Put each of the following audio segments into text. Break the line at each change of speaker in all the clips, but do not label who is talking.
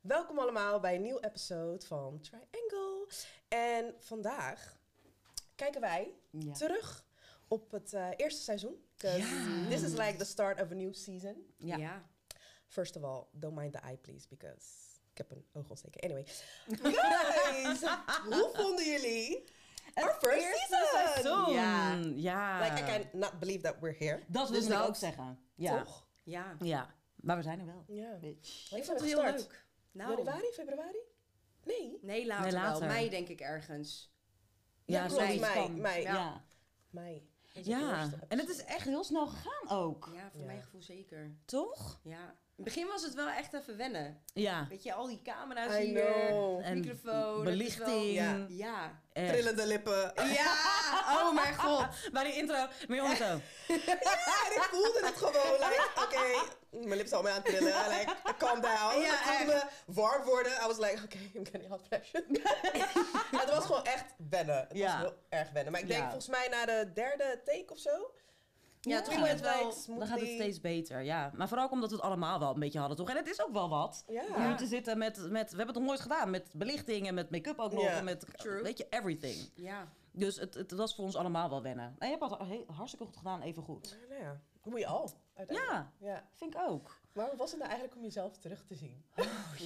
Welkom allemaal bij een nieuw episode van Triangle. En vandaag kijken wij
Ja.
terug op het eh, eerste seizoen. 'Cause
Ja.
This is like the start of a new season.
Ja.
First of all, don't mind the eye please, because ik heb een oogontsteking. Anyway. Guys, hoe vonden jullie our first
eerste
season?
seizoen. Ja.
Like, I cannot believe that we're here.
Dat wil
Dus
ik
dat.
ook zeggen. Ja.
Toch?
Ja,
ja. Maar we zijn er wel.
Ja.
Bitch.
ik
Ik
vond het heel leuk. Nou,
Januari, februari? Nee.
nee, later,
Nee, later.
wel. Mei denk ik ergens.
Ja, klopt.
zoiets
Mei,
kan.
mei.
Ja.
Mei.
Ja. En het is echt heel snel gegaan ook.
Ja, voor
Ja.
mijn gevoel zeker.
Toch?
Ja. In het begin was het wel echt even wennen.
Ja.
Weet je, al die camera's
I
hier,
know.
En
microfoon. dat is
Belichting.
wel-
Eh,
Ja.
Ja.
Echt.
Trillende lippen.
Ja, oh mijn god.
Bij die intro. Meer om zo.
En ik voelde het gewoon, like, oké, mijn lippen zijn al aan het trillen, like, calm down.
Ja,
ik voelde me warm worden. I was like, oké, I'm getting hot flashes. het was gewoon echt wennen. Het
Ja.
was heel erg wennen. Maar ik
Ja.
denk volgens mij na de derde take of zo.
Ja, het
toen
ging
werd
het
like
wel.
Dan gaat het
smoothie.
steeds beter, ja. Maar vooral ook omdat we het allemaal wel een beetje hadden, toch? En het is ook wel wat.
Ja.
Om hier te zitten met, met... We hebben het nog nooit gedaan. Met belichting en met make-up ook nog.
Ja.
En met,
True.
weet je, everything.
Ja.
Dus het, het was voor ons allemaal wel wennen. En Nou, je hebt het heel- hartstikke goed gedaan, even goed.
Nou ja, we all. uiteindelijk.
Ja,
Ja.
vind ik ook.
Maar hoe was het nou eigenlijk om jezelf terug te zien?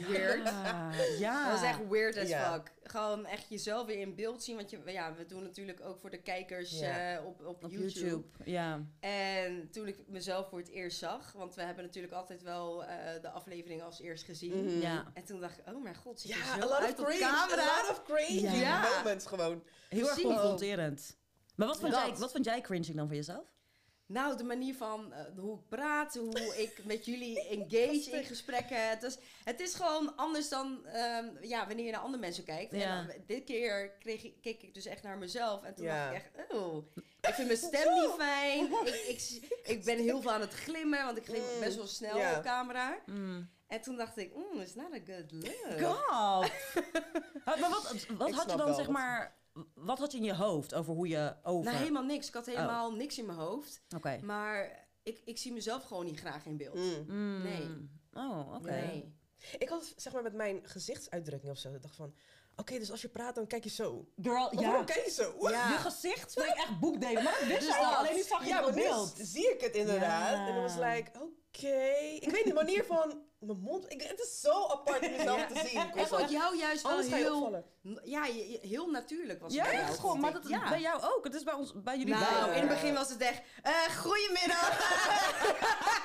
Weird.
Ja. Ah, ja.
Dat is echt weird as
Ja.
fuck. Gewoon echt jezelf weer in beeld zien. Want je, ja, we doen natuurlijk ook voor de kijkers
Ja.
eh, op, op,
Op
YouTube.
YouTube, Mm. ja.
En toen ik mezelf voor het eerst zag, want we hebben natuurlijk altijd wel eh, de aflevering als eerst gezien.
Mhm.
ja.
En toen dacht ik, oh mijn god, zit je
Ja,
zo
a lot of
uit
cringe.
de camera?
A lot of cringe
Ja.
Ja.
moments gewoon.
Heel erg
Precies.
confronterend. Maar wat vond,
Dat.
jij, wat vond jij cringing dan voor jezelf?
Nou, de manier van eh, hoe ik praat, hoe ik met jullie engage in gesprekken. Het is, het is gewoon anders dan ehm, ja, wanneer je naar andere mensen kijkt.
Ja.
En, eh, dit keer kreeg ik, keek ik dus echt naar mezelf. En toen
Ja.
dacht ik echt, oh, ik vind mijn stem niet fijn. Ik, ik, ik ben heel veel aan het glimmen, want ik glim
Mm,
best wel snel
ja.
op camera. En toen dacht ik, mm, it's not a good look.
God! maar wat, wat
Ik
had je
snap
dan,
wel
zeg
wat-
maar... Wat had je in je hoofd over hoe je over...
Nou, helemaal niks. Ik had
Oh.
helemaal niks in mijn hoofd.
Oké.
Maar ik, ik zie mezelf gewoon niet graag in beeld.
Mm.
Mm.
Nee.
Oh, oké.
Nee.
Ik had zeg maar met mijn gezichtsuitdrukking of zo. Ik dacht van, oké, dus als je praat dan kijk je zo.
Girl,
Maar
ja.
Waarom kijk je zo?
Ja.
Je gezicht spreekt echt boekdelen. Maar dat wist
Dus
je al,
dat.
alleen niet zag je
Ja,
het
maar
op
nu
beeld.
zie ik het inderdaad.
Ja.
En dan was like, oké. Ik weet niet, wanneer van mijn mond... Ik, het is zo apart om mezelf
Ja.
te zien. Ik
Ik
was
vond
like,
jou juist wel
anders ga je
heel...
opvallen.
Ja, je- je- heel natuurlijk was
Ja,
het. bij jou,
echt gewoon.
vond
Maar
ik.
dat
Ja.
bij jou ook. Het is bij ons, bij jullie
Nou,
beiden.
in het begin was het echt... eh goedemiddag!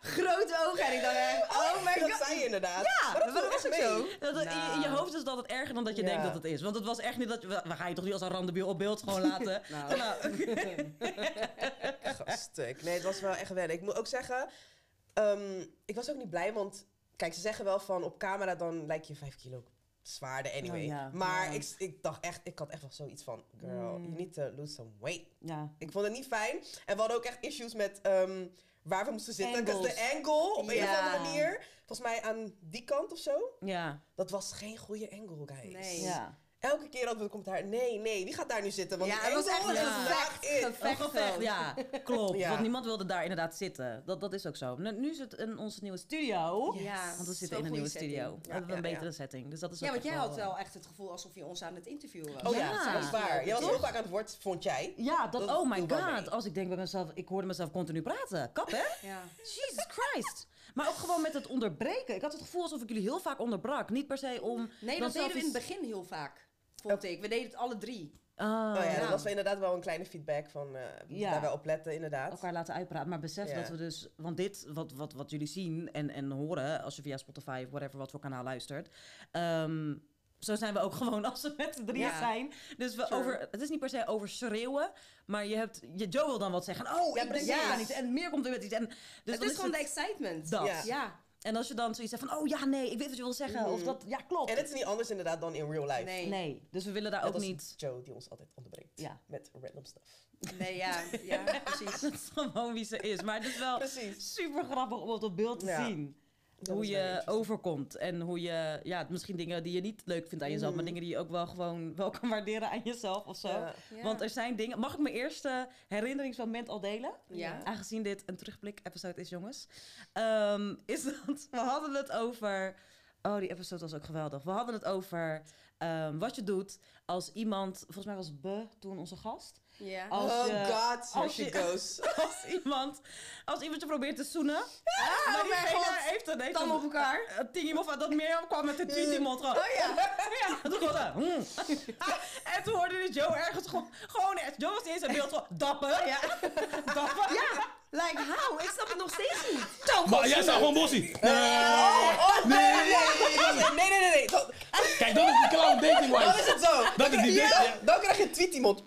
Grote ogen. En ik dacht echt... Oh my
Dat
god.
zei je inderdaad.
Ja,
maar dat viel echt
was ook
mee.
zo. Dat, in, je- in je
Nou.
hoofd is dat het erger dan dat je
Ja.
denkt dat het is. Want het was echt niet dat je... We gaan je toch niet als een randebiel op beeld gewoon laten?
Nou,
Gaststuk. Nee, het was wel echt wennen. Ik moet ook zeggen, ehm, ik was ook niet blij, want kijk, ze zeggen wel van op camera dan lijk je 5 kilo zwaarder anyway.
Oh ja,
Maar
ja.
Ik, ik dacht echt, ik had echt wel zoiets van, girl, you need to lose some weight.
ja.
Ik vond het niet fijn. En we hadden ook echt issues met ehm, waar we moesten zitten. Dus de
Angles.
angle, op een of
Ja.
andere manier. Volgens mij aan die kant of zo.
Ja.
Dat was geen goede angle, guys.
Nee.
Ja.
Elke keer hadden we komt daar. Nee, nee, wie gaat daar nu zitten? Want
Ja,
die
het was
angle
echt
is
een
not
gevecht,
it.
gevecht. eh,
Een gevecht, Oh, ja, klopt.
Ja.
Want niemand wilde daar inderdaad zitten. Dat, dat is ook zo. Nu, nu is het in onze nieuwe studio.
Ja,
Want we zitten
zo'n
in een
goede
nieuwe
setting.
studio. we
Ja,
hebben
ja,
een betere
ja.
setting. Dus dat is
ja,
ook
want
echt
jij had
eh,
wel echt het gevoel alsof je ons aan het interviewen was.
Oh ja,
Ja.
dat is waar. Jij was heel vaak aan het woord, vond jij.
Ja, dat,
Dat
oh my
viel wel
god.
mee.
Als ik denk bij mezelf, ik hoorde mezelf continu praten. Kap hè?
Ja.
Jesus Christ. Maar ook gewoon met het onderbreken. Ik had het gevoel alsof ik jullie heel vaak onderbrak. Niet per se om...
Nee,
dan
dat deden
zelf
we in het
iets-
begin heel vaak, vond ik. We deden het alle drie.
Ah,
Oh ja, dat
ja.
was wel inderdaad wel een kleine feedback van eh
Ja.
daar wel op letten, inderdaad.
elkaar laten uitpraten. Maar besef
Ja.
dat we dus. Want dit, wat, wat, wat jullie zien en, en horen. als je via Spotify of whatever wat voor kanaal luistert. ehm, zo zijn we ook gewoon als we met z'n drieën
Ja.
zijn. Dus we
Sure.
over, het is niet per se over schreeuwen. Maar je hebt. Je, Joe wil dan wat zeggen. Oh,
Ja,
ik ben
precies.
ja. niet. En meer komt er met iets. En, dus
het
dan
is gewoon
het-
de excitement.
dat.
Ja.
Ja.
En als je dan zoiets hebt van. Oh ja, nee, ik weet wat je wil zeggen. Of dat. Ja, klopt.
Mhm. En het is niet anders inderdaad dan in real life.
Nee.
nee, dus we willen daar
Dat
ook
is
niet.
Joe die ons altijd onderbreekt.
Ja.
Met random stuff.
Nee, ja. Ja, precies.
Dat is gewoon wie ze is. Maar het is wel
Precies.
super grappig om het op beeld te
Ja.
zien.
Dat
hoe
is wel
je
interesting.
overkomt en hoe je, ja, misschien dingen die je niet leuk vindt aan jezelf, maar dingen die je ook wel gewoon wel kan waarderen aan jezelf of zo.
Mm. Ja.
Ja.
Want er zijn dingen. Mag ik mijn eerste herinneringsmoment al delen?
Ja.
Aangezien dit een terugblik-episode is, jongens. Ehm, is dat we hadden het over Oh, die episode was ook geweldig. We hadden het over ehm, wat je doet als iemand... Volgens mij was Be toen onze gast.
Ja.
Als
oh
je-
god, here
als
she
je-
goes.
Als iemand, als iemand je probeert te zoenen. Ah, maar
mijn
diegene
God.
heeft oh dan... Heeft
Tanden op elkaar.
eh, Tingy Moffa, dat Mirjam kwam met een tweet in mond. gewoon,
Oh ja.
Ja, toen kwam ze, "Hmm." En toen hoorde je Joe ergens gewoon... gewoon echt, Joe was niet eens in beeld van... Dapper,
ja.
dapper.
Ja. Like, how? Ik snap het nog steeds niet.
Maar jij zou gewoon Eh, bossie. Nee.
Oh, Nee, nee, nee, nee, nee. Dat,
Kijk, dat is die clown dating
dat
wise.
Oh, is het zo.
Dat is die
Ja,
dating.
Dan krijg je tweet iemand.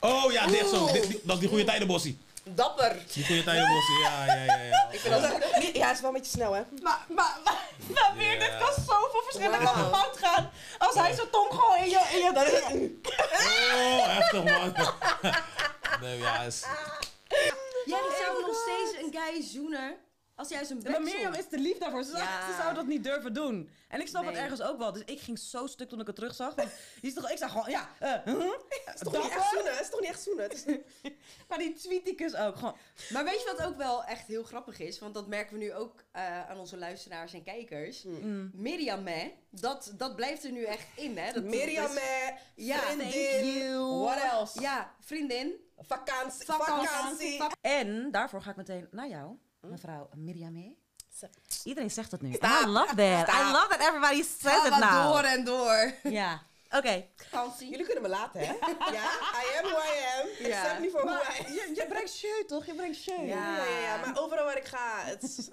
Oh ja, dit zo.
Oeh.
Dit- dit- Dat is die goede tijden bossie.
Dapper.
Die goede tijden bossie. Ja, ja, ja. ja.
Ik vind dat echt- niet- ja, het is wel een beetje snel, hè?
Maar, maar, maar, maar weer,
Ja.
dit kan zoveel verschillende
Wauw.
kanten fout gaan. Als hij zijn tong gewoon in je... In je
Dat is het.
Oh, heftig man. Nee, ja, is...
Jij zou nog steeds een guy zoenen als jij zijn bek
maar Mirjam
zoent.
is te lief daarvoor. Ze, zou-
Ja.
ze zou dat niet durven doen. En ik snap het
Nee.
ergens ook wel. Dus ik ging zo stuk toen ik het terugzag. Want je ziet toch, ik zag gewoon, ja, eh, huh?
Het is toch niet echt zoenen? Het is toch niet echt zoenen? Het is-
maar die tweeticus ook. Gewoon,
Maar weet je wat ook wel echt heel grappig is? Want dat merken we nu ook eh, aan onze luisteraars en kijkers. Miriam, hè? Dat, dat blijft er nu echt in, hè? Dat,
Miriam,
dat is-
eh,
Ja,
thank
vriendin.
you.
What else?
Ja, vriendin.
Vakantie.
Vakantie.
Vakantie.
Vak-
En daarvoor ga ik meteen naar jou, mevrouw Miriam.
Zo.
Iedereen zegt dat nu. I love that. I love that everybody says
Ga
it
maar
now.
door en door.
Ja, oké.
Vakantie.
Jullie kunnen me laten, hè? Ja, I am who I am. Ik
Ja.
sta niet voor
Maar
hoe I
je, je brengt show toch? Je brengt show.
Ja.
Ja, ja, ja, maar overal waar ik ga, het is,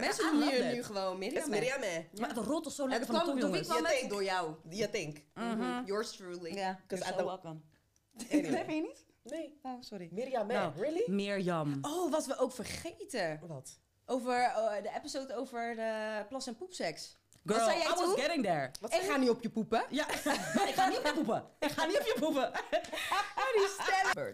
Mensen
I
noemen
love
je
that.
nu gewoon
het is
Miriam. hè?
Miriam, hè?
Maar het rolt toch zo
En
lekker
dat
van de
kwam
tong,
door wie
jongens. Mhm.
kwam
Je
het?
denkt.
Door jou.
You think?
Yours truly.
Ja,
Because I
you're so
don't-
welcome.
Anyway.
Dat je niet?
Nee,
Oh, sorry.
Miriam, hè?
Nou.
Really?
Mirjam.
Oh, wat we ook vergeten.
Wat?
Over eh, de episode over de plas- en poepseks.
Girl,
zei jij
I was
toen?
getting there.
Wat
ik ga niet op je poepen.
Ja, ik ga niet op je poepen. Ik ga niet op je poepen.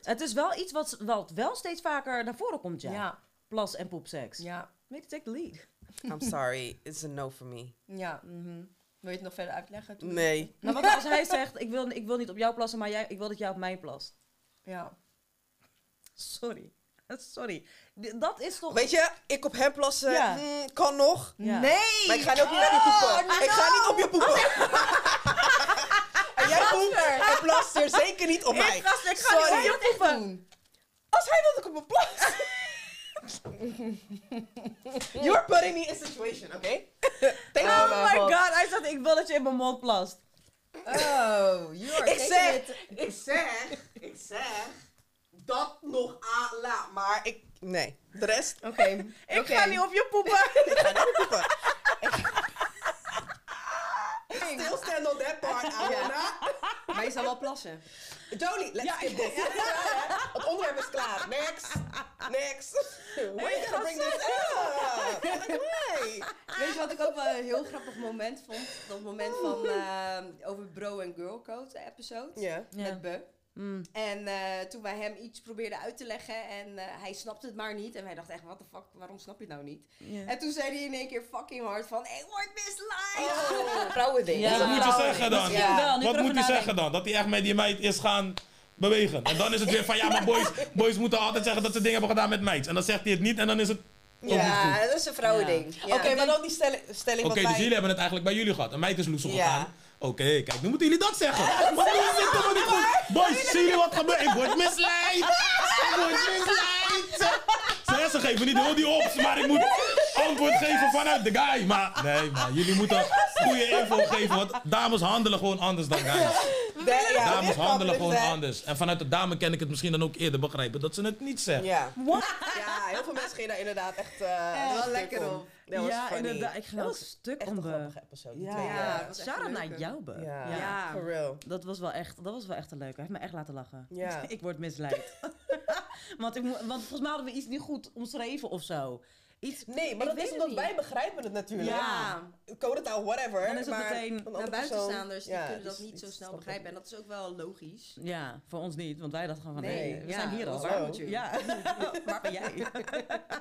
Het is wel iets wat, wat wel steeds vaker naar voren komt, ja.
Ja,
Plas en poepseks.
ja,
Made to take the lead.
I'm sorry, it's a no for me.
ja. mhm. Wil je het nog verder uitleggen? Toen?
Nee.
Nou, wat als hij zegt, ik wil, ik wil niet op jou plassen, maar jij, ik wil dat jij op mij plast.
Ja.
Sorry. Sorry. D- Dat is toch...
Weet je, ik op hem plassen
Ja.
hmm, kan nog. Oh,
Ja.
Nee!
Maar ik ga niet op je poepen. Ik ga niet op je poepen. en jij poept en plast er zeker niet op mij.
ik
ga niet
op je poepen.
Als hij wil dat ik op mijn plas. You're putting me in a situation, oké? Thank you.
Oh my god, hij zegt, ik wil dat je in mijn mond plast.
Oh, you are
Ik
taking
zeg,
it.
ik zeg, ik zeg dat nog aan la, maar ik, nee, de rest,
Oké.
Ik ga niet op je poepen.
ik ga niet poepen. Still stand on that part, I will
Ja.
not.
Maar je zal wel plassen.
Jolie, let's skip this. Het onderwerp is klaar. Next, next. Why are you gonna bring this up? Why?
Weet je wat ik ook wel een heel grappig moment vond? Dat moment van ehm, over bro en girl code de episode.
Ja. Mm.
Ja.
Met Be. En eh, toen wij hem iets probeerden uit te leggen en eh, hij snapte het maar niet. En wij dachten echt, wat de fuck, waarom snap je het nou niet? En toen zei hij in één keer fucking hard van, ik word misleid.
Oh, vrouwending.
Ja.
Wat moet
Ah,
je zeggen dan?
Ja.
Wel, nu
Wat
ik
moet
erover
hij
nadenk.
zeggen dan? Dat hij echt met die meid is gaan bewegen. En dan is het weer van ja, maar boys, boys moeten altijd zeggen dat ze dingen hebben gedaan met meids. En dan zegt hij het niet en dan is het. toch niet goed.
Ja, dat is een vrouwending. Ja.
Oké, maar dan die stelling, stelling
Oké,
wat
dus
wij...
jullie hebben het eigenlijk bij jullie gehad. Een meid is loesel
Ja.
gegaan. Oké, kijk, nu moeten jullie dat zeggen. Wat doen jullie toch niet goed? Boys, zien jullie wat gebeurt? Ik word misleid. Ik word misleid. Ze, ze geven niet heel die ops, maar ik moet antwoord geven vanuit de guy. Maar nee, maar jullie moeten goede info geven. Want dames handelen gewoon anders dan guys.
Da- ja,
Dames
dit kan
handelen
dus,
gewoon
hè.
anders. En vanuit de dame kan ik het misschien dan ook eerder begrijpen dat ze het niet zegt.
Ja.
What?
ja, heel veel mensen gingen daar inderdaad echt... eh,
Echt
heel
wel lekker
stuk om.
op.
Dat was
ja,
funny.
inderdaad. Ik ging
Dat
ook
was
stuk
echt
om
een
de...
grappige episode. die
Ja,
tweede.
Ja, dat was echt
shout-out
een
naar
leuke.
jou, Be.
Ja.
Ja.
Ja.
for real.
Dat was wel echt, dat was wel echt een leuke. Hij heeft me echt laten lachen.
Ja.
ik word misleid. want, ik, mo- want volgens mij hadden we iets niet goed omschreven of zo. Iets,
Nee, maar
ik
dat
weet
is
het
omdat
niet.
wij begrijpen het natuurlijk.
Ja.
Codetaal, whatever.
Dan is het
maar
meteen
een andere
Nou, buitenstaanders die
persoon- ja,
kunnen
dus
dat niet zo
iets
snel
snappen.
begrijpen. En dat is ook wel logisch.
Ja, voor ons niet, want wij dachten gewoon van,
Nee,
hey, we
ja,
zijn hier al.
waar
Waarom-
moet
je?
Ja, waar ben jij?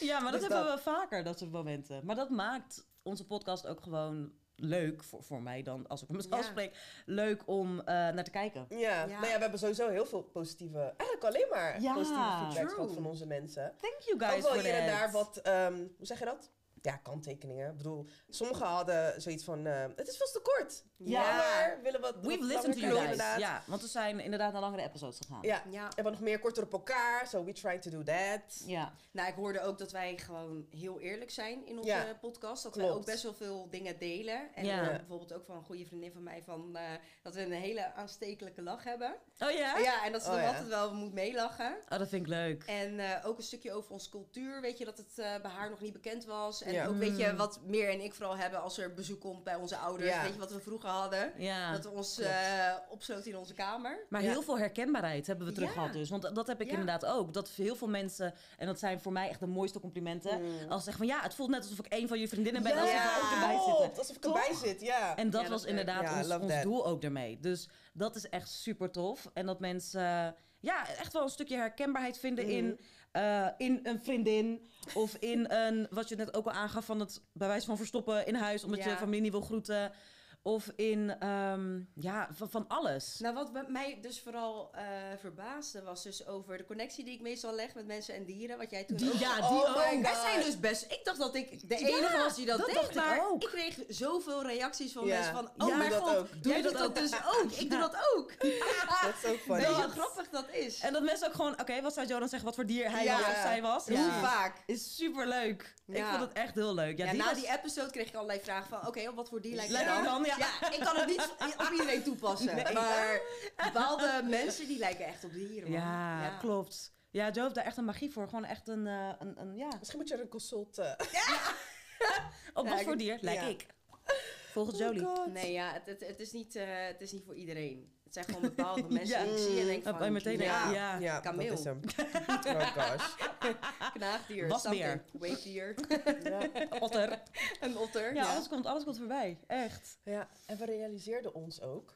ja, maar dat
Dus
hebben
dat.
we vaker, dat soort momenten. Maar dat maakt onze podcast ook gewoon leuk, voor, voor mij dan, als ik met mezelf
Ja.
spreek, leuk om eh, naar te kijken.
Ja.
Ja.
nou ja, we hebben sowieso heel veel positieve, eigenlijk alleen maar
Ja,
positieve feedback
true.
gehad van onze mensen.
Thank you guys
Ook wel
for
hier en
that.
daar wat, ehm, hoe zeg je dat? ja, kanttekeningen. Ik bedoel, sommigen hadden zoiets van, eh, het is vast te kort.
Ja.
Ja, maar willen we... wat
We've
langer
listened to you
kunnen,
guys.
inderdaad.
Ja, want we zijn inderdaad naar langere episodes gegaan.
Ja.
Ja.
En wat nog meer korter op elkaar. So we trying to do that.
Ja.
Nou, ik hoorde ook dat wij gewoon heel eerlijk zijn in onze
Ja,
podcast. Dat wij
klopt.
ook best wel veel dingen delen. En
Ja.
eh, bijvoorbeeld ook van een goede vriendin van mij van, eh, dat we een hele aanstekelijke lach hebben.
Oh ja?
Ja, en dat ze
Oh,
dan
ja.
altijd wel moet meelachen.
Oh, dat vind ik leuk.
En eh, ook een stukje over onze cultuur, weet je, dat het eh, bij haar nog niet bekend was. En
Ja.
ook, weet je, wat Meer en ik vooral hebben als er bezoek komt bij onze ouders.
Ja.
Weet je, wat we vroeger hadden.
Ja.
Dat we ons
klopt.
eh, opsloten in onze kamer.
Maar
Ja.
heel veel herkenbaarheid hebben we terug
Ja.
gehad dus. Want dat heb ik
Ja.
inderdaad ook. Dat heel veel mensen, en dat zijn voor mij echt de mooiste complimenten. Als ze zeggen van ja, het voelt net alsof ik één van je vriendinnen ben.
Mm. Ja,
Alsof ik er ook erbij zitten.
klopt. Alsof ik erbij
Toch?
zit, ja.
En dat
Ja, dat
was
is
inderdaad
leuk. Ja, I
ons,
love
ons
that.
doel ook daarmee. Dus dat is echt super tof. En dat mensen eh, ja, echt wel een stukje herkenbaarheid vinden
Mm.
in, eh, in een vriendin. Of in een, wat je net ook al aangaf, van het bij wijze van verstoppen in huis. Omdat je
Ja.
familie niet wil groeten. Of in, ehm, ja, van, van alles.
Nou, wat bij mij dus vooral eh, verbaasde was dus over de connectie die ik meestal leg met mensen en dieren. Wat jij toen
Die,
ook-
ja, die
Oh my
ook.
God.
Wij zijn dus best... Ik dacht dat ik de
Ja,
enige was die dat,
dat
deed,
dacht ik
maar
ook.
ik kreeg zoveel reacties van
Ja.
mensen van...
Ja,
Oh
doe
mijn
dat
god,
ook.
doe
Jij
jij doet
doet
dat dus ook. Ik doe dat ook.
Dat is ook
Weet
funny.
je hoe
Dat.
grappig dat is?
En dat mensen ook gewoon, oké, wat zou Joran zeggen, wat voor dier hij
Ja.
was of zij was.
Ja.
Hoe vaak?
Is super leuk. Ik
Ja.
vond het echt heel leuk. Ja,
Ja,
die
na
was-
die episode kreeg ik allerlei vragen van... Oké, op wat voor dier lijkt
Lijkt
je
je
dan?
dan? Ja.
ik kan het niet op iedereen toepassen.
Nee.
Maar bepaalde mensen die lijken echt op dieren, man.
Ja, klopt. Ja, Joe heeft daar echt een magie voor. Gewoon echt een, eh, een, een ja.
Misschien moet je er een consult... eh,
Op wat
ik-
voor dier? Lijk
ja.
ik. Oh Volgens Jolie.
Oh God.
Nee, ja, het, het, het, is niet, eh, het is niet voor iedereen. Het zijn gewoon bepaalde mensen
Ja.
die ik zie en denk
Dat
van...
ben je meteen
ja,
ja.
Ja, dat
kameel.
is hem. Oh gosh.
knaagdier,
Wasbeer.
something, weekdier,
Ja.
Otter.
een otter.
Ja, Alles, komt, alles komt voorbij. Echt.
Ja, en we realiseerden ons ook,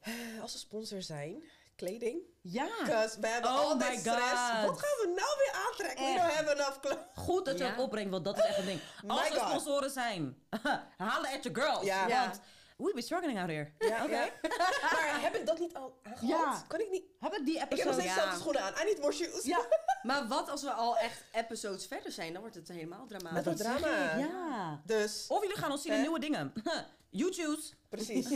eh, als we sponsor zijn, kleding.
Ja.
Because we hebben
Oh
altijd
my
stress.
God.
Wat gaan we nou weer aantrekken? We
Echt.
don't have enough clothes.
Goed dat je
Ja.
het opbrengt, want dat is echt een ding.
My
Als er
God.
sponsoren zijn, halen at your girls.
Ja.
Ja.
Want we be struggling out here.
Ja, ja. maar heb ik dat niet al aangehad?
Ja.
Kan ik niet?
Heb ik die
Ik heb
episode?
nog steeds
ja.
dezelfde schoenen aan. I need more shoes.
Ja.
Maar wat als we al echt episodes verder zijn? Dan wordt het helemaal dramatisch.
Met dat
zeg
drama.
ik, Ja.
Dus,
Of jullie gaan ons zien in
Hè?
nieuwe dingen. you choose.
precies.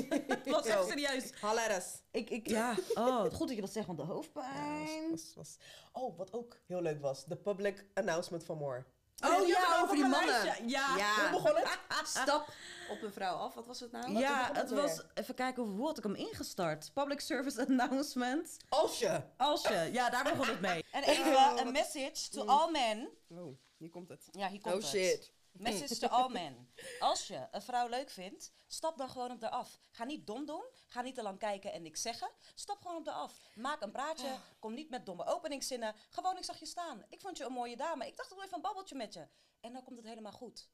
Wat
Yo.
echt serieus.
Holla at us.
Ik, ik, ja. Oh, goed dat je dat zegt, want de
Ja, was-
hoofdpijn.
was- was- Oh, wat ook heel leuk was. De public announcement van More.
Oh
Jullie hebben
ja,
ook
over die
een
mannen.
lijstje. Ja.
Hoe begon het?
Stap op een vrouw af. Wat was het nou?
toen
Ja,
begon het
het was. Even kijken, hoe had ik hem ingestart? Public service announcement.
Als je.
Als je. Ja, daar begon het mee. En
Oh,
even een
message to all men.
Oh, hier komt het.
Ja, hier
Mm. Oh shit.
Message to all men. Als je een vrouw leuk vindt, stap dan gewoon op haar af. Ga niet dom doen, ga niet te lang kijken en niks zeggen. Stap gewoon op haar af. Maak een praatje, kom niet met domme openingszinnen. Gewoon, ik zag je staan. Ik vond je een mooie dame. Ik dacht, ik doe even een babbeltje met je. En dan komt het helemaal goed.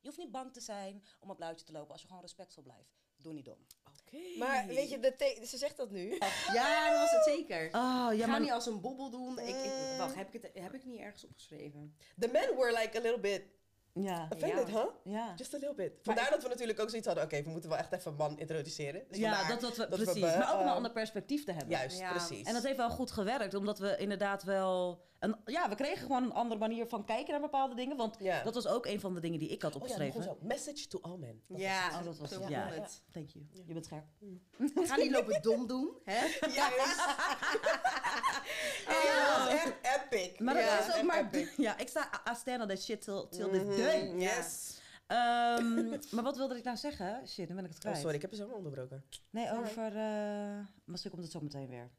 Je hoeft niet bang te zijn om op luidje te lopen als je gewoon respectvol blijft. Doe niet dom.
Maar weet je, de the- ze zegt dat nu.
Ja, dat was het zeker.
Oh, Eh.
Ga niet als een bobbel doen. Ik, ik, wacht, heb ik, het, heb ik niet ergens opgeschreven?
The men were like a little bit
Ja.
offended,
Ja.
huh?
Ja.
Just a little bit. Vandaar dat we natuurlijk ook zoiets hadden. Oké, we moeten wel echt even een man introduceren. Dus
Ja,
vandaar
dat, dat we,
we
precies.
be-
maar ook om een
eh,
ander perspectief te hebben.
Juist,
Ja.
precies.
En dat heeft wel goed gewerkt, omdat we inderdaad wel... Een, ja, we kregen gewoon een andere manier van kijken naar bepaalde dingen. Want
Ja.
dat was ook een van de dingen die ik had
Oh ja, dat
opgeschreven.
begon zo. Message to all men. Dat
ja,
Oh, dat was
zo
het,
begon
ja.
het.
Thank you. Je bent Oh, scherp.
Ga niet lopen dom doen. Hè?
was- Juist.
Ja.
Dat was echt epic.
Maar dat
Ja, Oh,
is ook maar... Ja, ik sta... I stand on that shit till, till
Mhm.
this day.
Yes.
Ehm, maar wat wilde ik nou zeggen? Shit, nu ben ik het
Oh,
kwijt.
sorry, ik heb je zomaar onderbroken.
Nee, over... eh misschien komt het zo meteen weer.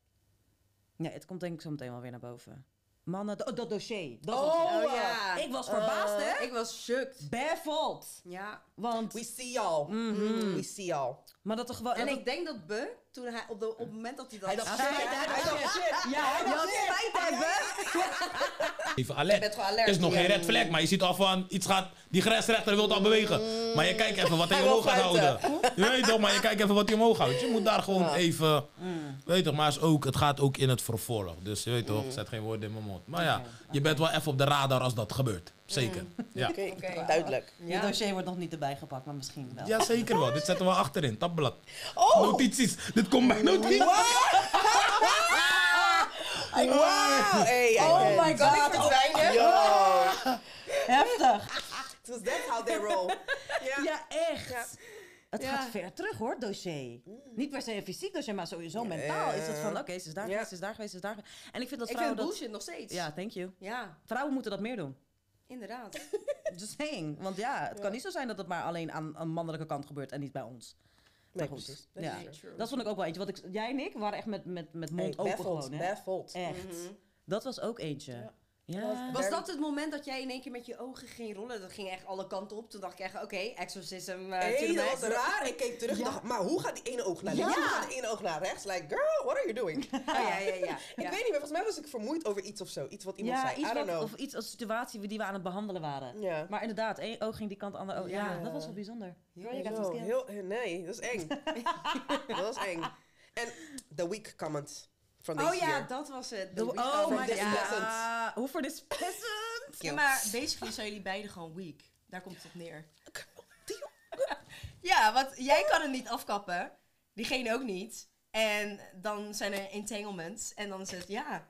Nee, het komt denk ik zo meteen wel weer naar boven. Mannen, oh, dat dossier. Dat was het.
Oh, eh,
ja. Eh,
Ik was verbaasd, hè?
Ik was shocked.
Barefoot.
Ja.
Want,
We see y'all.
Mhm.
We see y'all.
maar dat er gewoon...
En
Oh, dat-
ik denk dat Be, toen hij op, de, op het moment dat hij dat
Hij dacht
zei,
shit.
shit,
Hij dacht shit.
ja,
hij dacht spijt hebben.
Even
Ik ben
alert.
gewoon alert.
Er is nog
Ja.
geen red flag, maar je ziet al van iets gaat. Die grensrechter wil al bewegen. Maar je kijkt even wat hij omhoog gaat houden. Je weet toch, maar je kijkt even wat hij omhoog houdt. Je moet daar gewoon even. Weet toch, maar is ook, het gaat ook in het vervolg. Dus je weet toch, zet geen woorden in mijn mond. Maar ja, je bent wel even op de radar als dat gebeurt. Zeker. Ja.
Oké,
Oké.
duidelijk.
Je dossier wordt nog niet erbij gepakt, maar misschien wel.
ja, zeker wel. Dit zetten we achterin, tabblad.
Oh!
Notities. Dit komt bij notities.
Wow! Hey, oh my god, ik verdwijnen.
Heftig.
Dus that's how they roll. Ja.
Ja, echt.
Ja.
Het
Ja.
gaat ver terug hoor, dossier. Niet per se een fysiek dossier, maar sowieso mentaal. Is het van, oké, ze is daar
Ja.
geweest, ze is daar geweest, ze is daar geweest. En ik vind dat
Ik vind
vrouwen
het
dat...
bullshit nog steeds.
Ja, thank you.
Ja,
Vrouwen moeten dat meer doen.
inderdaad.
Just saying. Want ja, het kan niet zo zijn dat het maar alleen aan een mannelijke kant gebeurt en niet bij ons.
Nee,
goed.
precies. Dat
Ja.
is true.
Dat vond ik ook wel eentje. Want ik, jij en ik waren echt met, met, met mond
Hey,
open
baffled,
gewoon. Hè?
baffled.
Echt. Dat was ook eentje. Ja.
Ja.
Was
Very-
Mhm. dat het moment dat jij in één keer met je ogen ging rollen? Dat ging echt alle kanten op. Toen dacht ik echt, oké, exorcism. eh to
Hey,
the
dat
max.
was raar. Ik keek terug en
Ja.
dacht, maar hoe gaat die ene oog naar
Ja.
links? Hoe gaat de ene oog naar rechts? Like, girl, what are you doing?
Oh, ja, ja, ja.
Ik
ja.
weet niet meer, volgens mij was ik vermoeid over iets of zo. Iets wat iemand zei,
iets
I don't
wat-
know.
of iets als situatie die we aan het behandelen waren.
Ja.
Maar inderdaad, één oog ging die kant, ander oog. Ja,
Ja.
dat was wel bijzonder. Girl, you got some
Zo,
skills.
heel, eh, nee, dat is eng. dat is eng. En the weak comment from this
Oh ja,
year.
dat was het.
The- oh
from
my
this
god.
lesson.
Ah, Hoe voor this peasant?
Ja, maar basically zijn jullie beiden gewoon weak. Daar komt het op neer.
Die-
Ja, want jij kan het niet afkappen. Diegene ook niet. En dan zijn er entanglements. En dan is het, ja,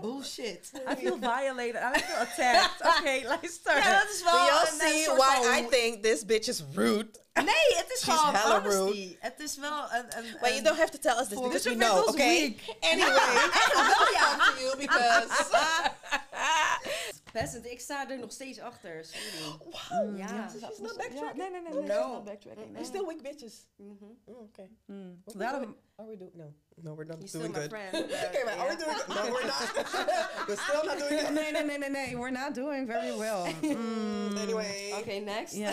bullshit.
I feel violated. I feel attacked. Oké, luister.
Ja, dat is wel
Do y'all
een, eh,
see
soort
why
van-
I think this bitch is rude?
Nee, het is
She's
gewoon
hella
honesty.
rude.
Het is wel een... een,
But you
een-
don't have to tell us this
Voor-
because
Dus
we
je
know,
bent ons
okay? Anyway, I talk to you because...
Peasant, ik sta er nog steeds achter. Sorry.
Wow,
Oh, Ja.
she's not backtracking.
nee, nee, nee.
Oh,
nee,
No.
she's not backtracking.
We're still weak bitches.
Mhm.
Oh, okay.
Mm.
What we
Daarom,
doing? Are we doing... No. No, we're not
You're still
doing
my
good.
friend.
Okay, but are we doing good? No, we're not. we're still not doing good.
nee, nee, nee, nee, nee. We're not doing very well. Mm.
Anyway.
Oké, next.
Ja.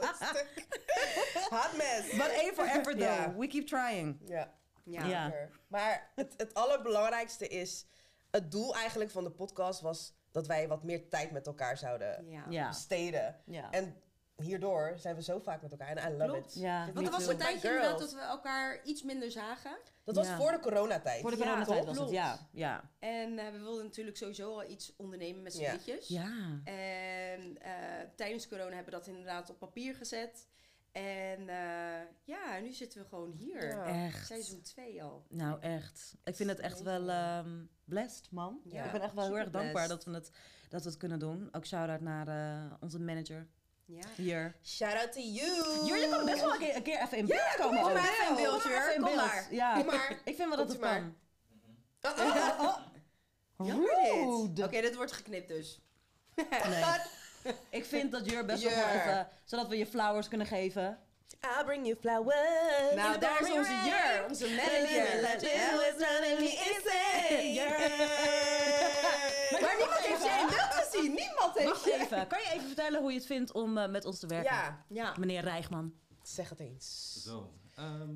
So sick. Hot mess.
But A forever though.
Ja.
We keep trying.
Ja.
Ja.
Ja.
Zeker. Maar het, het allerbelangrijkste is... Het doel eigenlijk van de podcast was... dat wij wat meer tijd met elkaar zouden
Ja.
Ja.
besteden.
Ja.
En hierdoor zijn we zo vaak met elkaar. En I love
Klopt.
it.
Ja.
Dit
Want er
is
was een
met mijn
tijdje
girls.
inderdaad dat we elkaar iets minder zagen.
Dat was
Ja.
voor de coronatijd.
Voor de
Ja,
coronatijd was het,
klopt.
ja. Ja.
En eh, we wilden natuurlijk sowieso al iets ondernemen met z'n
Ja.
drietjes.
Ja.
En eh, tijdens corona hebben we dat inderdaad op papier gezet. En eh, ja, nu zitten we gewoon hier.
Ja.
Echt.
Seizoen 2 al.
Nou, echt. Ik vind het echt wel ehm blessed, man.
Ja,
Ik ben echt wel heel erg
superblessed.
dankbaar dat we het, dat we het kunnen doen. Ook shout-out naar eh, onze manager
Ja.
hier.
Shout out to you.
Jur, je kan Oh, best wel een keer, een keer even in beeld komen.
kom
ook.
maar even in beeld,
Kom maar
Jur.
even in
Kom
beeld.
maar.
Ja.
Kom maar.
Ik vind wel dat het
Komt u maar.
kan.
Oh, oh, oh.
Jammer dit. Oké,
Rude.
dit wordt geknipt dus.
Nee. Ik vind dat Jur best wel
Jur.
gewoon even... Zodat we je flowers kunnen geven.
I'll bring you flowers.
Nou, daar is onze jur, onze manager. Maar niemand heeft jij in beeld gezien. Niemand heeft
Wacht
je.
even. Kan je even vertellen hoe je het vindt om eh, met ons te werken? Ah,
Ja,
Ja.
Meneer Rijgman.
zeg het eens.
Zo. ehm,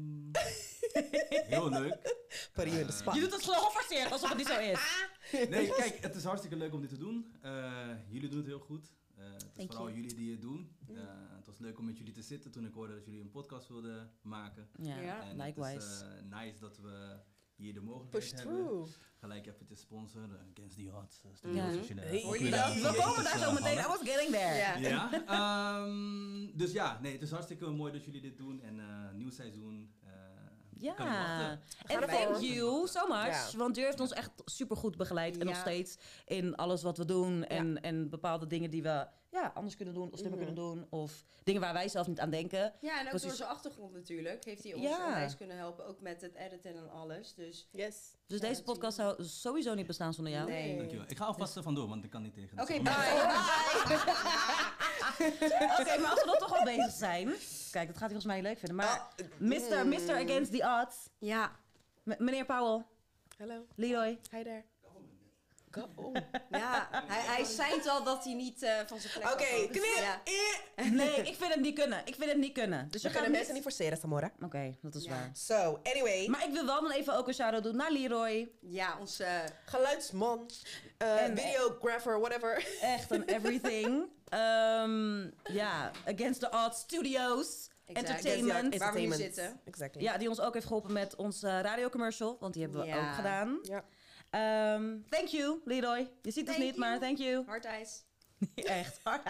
heel leuk.
Put you in the
Eh,
spot.
Je doet het zo geforceerd, alsof het niet zo is.
Nee, kijk, het is hartstikke leuk om dit te doen. Eh, jullie doen het heel goed. Eh, het is vooral jullie die het doen. Eh, het was leuk om met jullie te zitten toen ik hoorde dat jullie een podcast wilden maken.
Ja,
Ja.
Het is
likewise.
eh, nice dat we hier de mogelijkheid
Push
hebben.
through.
Gelijk even te sponsoren. Against the Odds. eh,
Ja.
Studios, als je, eh,
Hey.
ook
Hoor je
weer
dat?
aan-
We
We
eventjes,
komen daar
eh,
zo meteen. I
hangen.
was getting there.
Ja.
Ja, ehm, dus ja, nee, het is hartstikke mooi dat jullie dit doen en eh, nieuw seizoen. eh, ik kan niet wachten.
Ja,
gaan
en
er
thank
voor.
you so much.
Ja.
Want u heeft ons echt supergoed begeleid. En nog
Ja.
steeds in alles wat we doen. En, en bepaalde dingen die we ja, anders kunnen doen. Of slimmer
Mhm.
kunnen doen. Of dingen waar wij zelf niet aan denken.
Ja, en ook
Precies.
door zijn achtergrond natuurlijk heeft hij ons
Ja.
onwijs kunnen helpen. Ook met het editen en alles. Dus
Yes.
Dus
Ja,
deze podcast zou sowieso niet bestaan zonder jou.
nee. Oké,
Dankjewel. Ik ga alvast er vandoor, want ik kan niet tegen. de
bye.
zon.
Oké, maar als we dan toch al bezig zijn. Kijk, dat gaat hij volgens mij leuk vinden.
Ah,
Maar
eh,
Mr.
mm.
Mr. Against the Odds.
Ja.
M- meneer Powell.
Hallo.
Leroy.
Hi there.
Dus
Ja, hij, hij zei al dat hij niet eh, van zijn plek
Oké,
afkwam.
knip
Ja.
Nee, ik vind het niet kunnen. Ik vind het niet kunnen. Dus
We
we gaan
kunnen mensen niet forceren, Samora.
Oké, dat is
Ja.
waar.
So, anyway.
Maar ik wil wel dan even ook een shout-out doen naar Leroy.
ja, eh, onze...
geluidsman, eh,
En-
videographer, whatever.
Echt een everything. Ehm, ja, Against the Odds Studios. Entertainment.
Against the
Waar we nu
Entertainment.
zitten.
Exactly.
Ja, die ons ook heeft geholpen met ons eh, radiocommercial. Want die hebben we
Ja.
ook gedaan.
Ja.
Ehm, thank you, Leroy. Je ziet ons
Thank
niet, maar
you.
thank you.
Hardijs.
Echt hard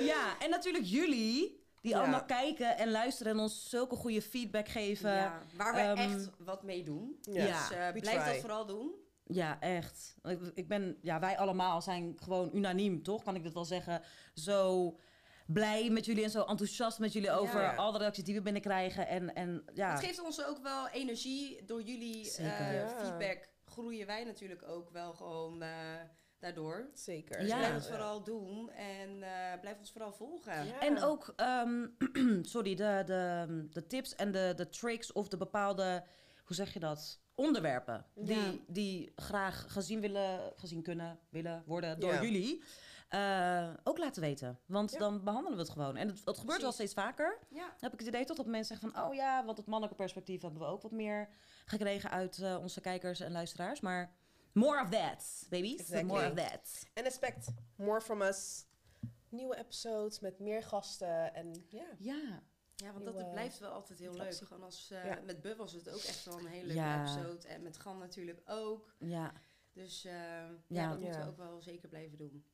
ja, en natuurlijk jullie. Die
Ja.
allemaal kijken en luisteren en ons zulke goede feedback geven.
Ja, waar we
ehm,
echt wat mee doen.
Yes.
Ja.
Dus eh,
we
blijf
try.
dat vooral doen.
Ja, echt. Ik, ik ben, ja, wij allemaal zijn gewoon unaniem, toch? Kan ik dat wel zeggen? Zo blij met jullie en zo enthousiast met jullie over
Ja.
alle reacties die we binnenkrijgen. En, en ja,
Het geeft ons ook wel energie. Door jullie
Zeker.
eh,
Ja.
feedback groeien wij natuurlijk ook wel gewoon eh, daardoor.
Zeker.
Ja.
Dus blijf
dat
het vooral doen en eh, blijf ons vooral volgen.
En ook, ehm, sorry, de, de, de tips en de, de tricks of de bepaalde, hoe zeg je dat? Onderwerpen die,
Ja.
die graag gezien willen, gezien kunnen, willen worden door
Ja.
jullie. eh, ook laten weten. Want
Ja.
dan behandelen we het gewoon. En het, dat gebeurt wel
Precies.
steeds vaker.
Ja.
Dan heb ik het idee toch dat mensen zeggen van... oh ja, want het mannelijke perspectief hebben we ook wat meer gekregen... uit eh, onze kijkers en luisteraars. Maar more of that, babies.
Exactly.
More of that.
En expect more from us. Nieuwe episodes met meer gasten. En ja,
Ja.
Ja, want dat
Nieuwe
blijft wel altijd heel leuk.
interactie.
Gewoon als, eh,
Ja.
Met Bub was het ook echt wel een hele leuke
Ja.
episode. En met Gan natuurlijk ook.
Ja.
Dus eh, ja.
Ja.
dat moeten
Ja.
we ook wel zeker blijven doen.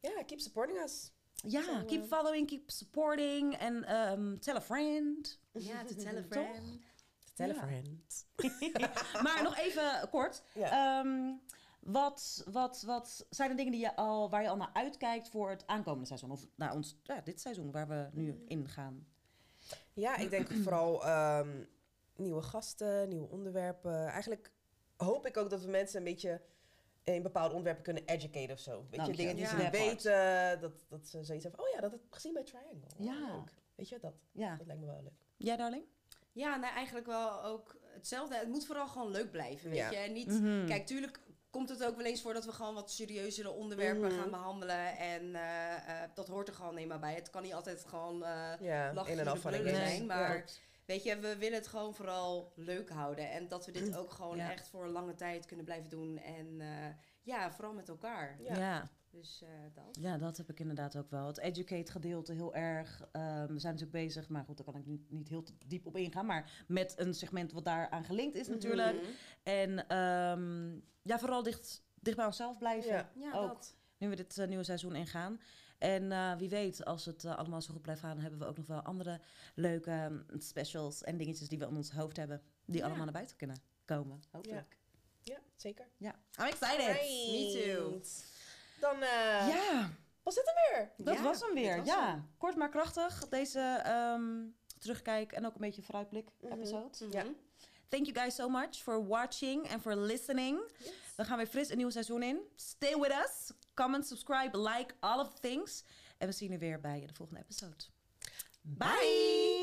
ja keep supporting us.
Ja,
Zo,
keep
eh,
following, keep supporting. En ehm, tell a friend.
Ja, to tell a
Toch?
friend.
Tell
Ja.
a friend.
maar nog even kort.
Ja.
Ehm, wat, wat, wat zijn de dingen die je al, waar je al naar uitkijkt voor het aankomende seizoen? Of nou, ons, ja, dit seizoen waar we nu in gaan.
Ja, ik denk vooral ehm, nieuwe gasten, nieuwe onderwerpen. Eigenlijk hoop ik ook dat we mensen een beetje in bepaalde onderwerpen kunnen educaten of zo. Weet
Nou,
je, dingen die
ja.
ze niet
Ja.
weten. Dat, dat ze zoiets hebben van, oh ja, dat heb ik gezien bij Triangle. Oh,
Ja.
leuk. Weet je, dat,
Ja,
dat lijkt me wel leuk.
jij darling?
Ja, nou eigenlijk wel ook hetzelfde. Het moet vooral gewoon leuk blijven, weet
Ja.
je. En niet,
Mhm.
kijk, tuurlijk komt het ook wel eens voor dat we gewoon wat serieuzere onderwerpen
Mhm.
gaan behandelen. En eh, eh, dat hoort er gewoon eenmaal bij. Het kan niet altijd gewoon, eh,
Ja,
Lachen
in en
jullie
af van
brullen
elkaar.
zijn,
Ja.
maar- weet je, we willen het gewoon vooral leuk houden. En dat we dit ook gewoon
Ja.
echt voor een lange tijd kunnen blijven doen. En eh, ja, vooral met elkaar.
Ja.
Ja. Ja,
Dus eh, dat.
dat heb ik inderdaad ook wel. Het educate gedeelte heel erg. Ehm, we zijn natuurlijk bezig, maar goed, daar kan ik nu niet heel te diep op ingaan. Maar met een segment wat daaraan gelinkt is natuurlijk.
Mhm.
En ehm, ja, vooral dicht, dicht bij onszelf blijven.
Ja.
Ja,
Ook.
dat.
Nu we dit eh, nieuwe seizoen ingaan. En eh, wie weet, als het eh, allemaal zo goed blijft gaan, hebben we ook nog wel andere leuke ehm, specials en dingetjes die we in ons hoofd hebben. Die
Ja.
allemaal naar buiten kunnen komen. Hopelijk.
Ja, zeker.
Ja. I'm excited.
Alright.
me too.
Dan eh,
Ja,
was dit hem weer.
dat
Ja,
was hem weer.
dit was
ja, kort maar krachtig. Deze ehm, terugkijk en ook een beetje vooruitblik
Mhm.
episode.
Mhm.
Ja.
Thank you guys so much for watching and for listening. We gaan weer fris een nieuw seizoen in. Stay with us. Comment, subscribe, like, all of the things. En we zien jullie weer bij de volgende episode. Bye.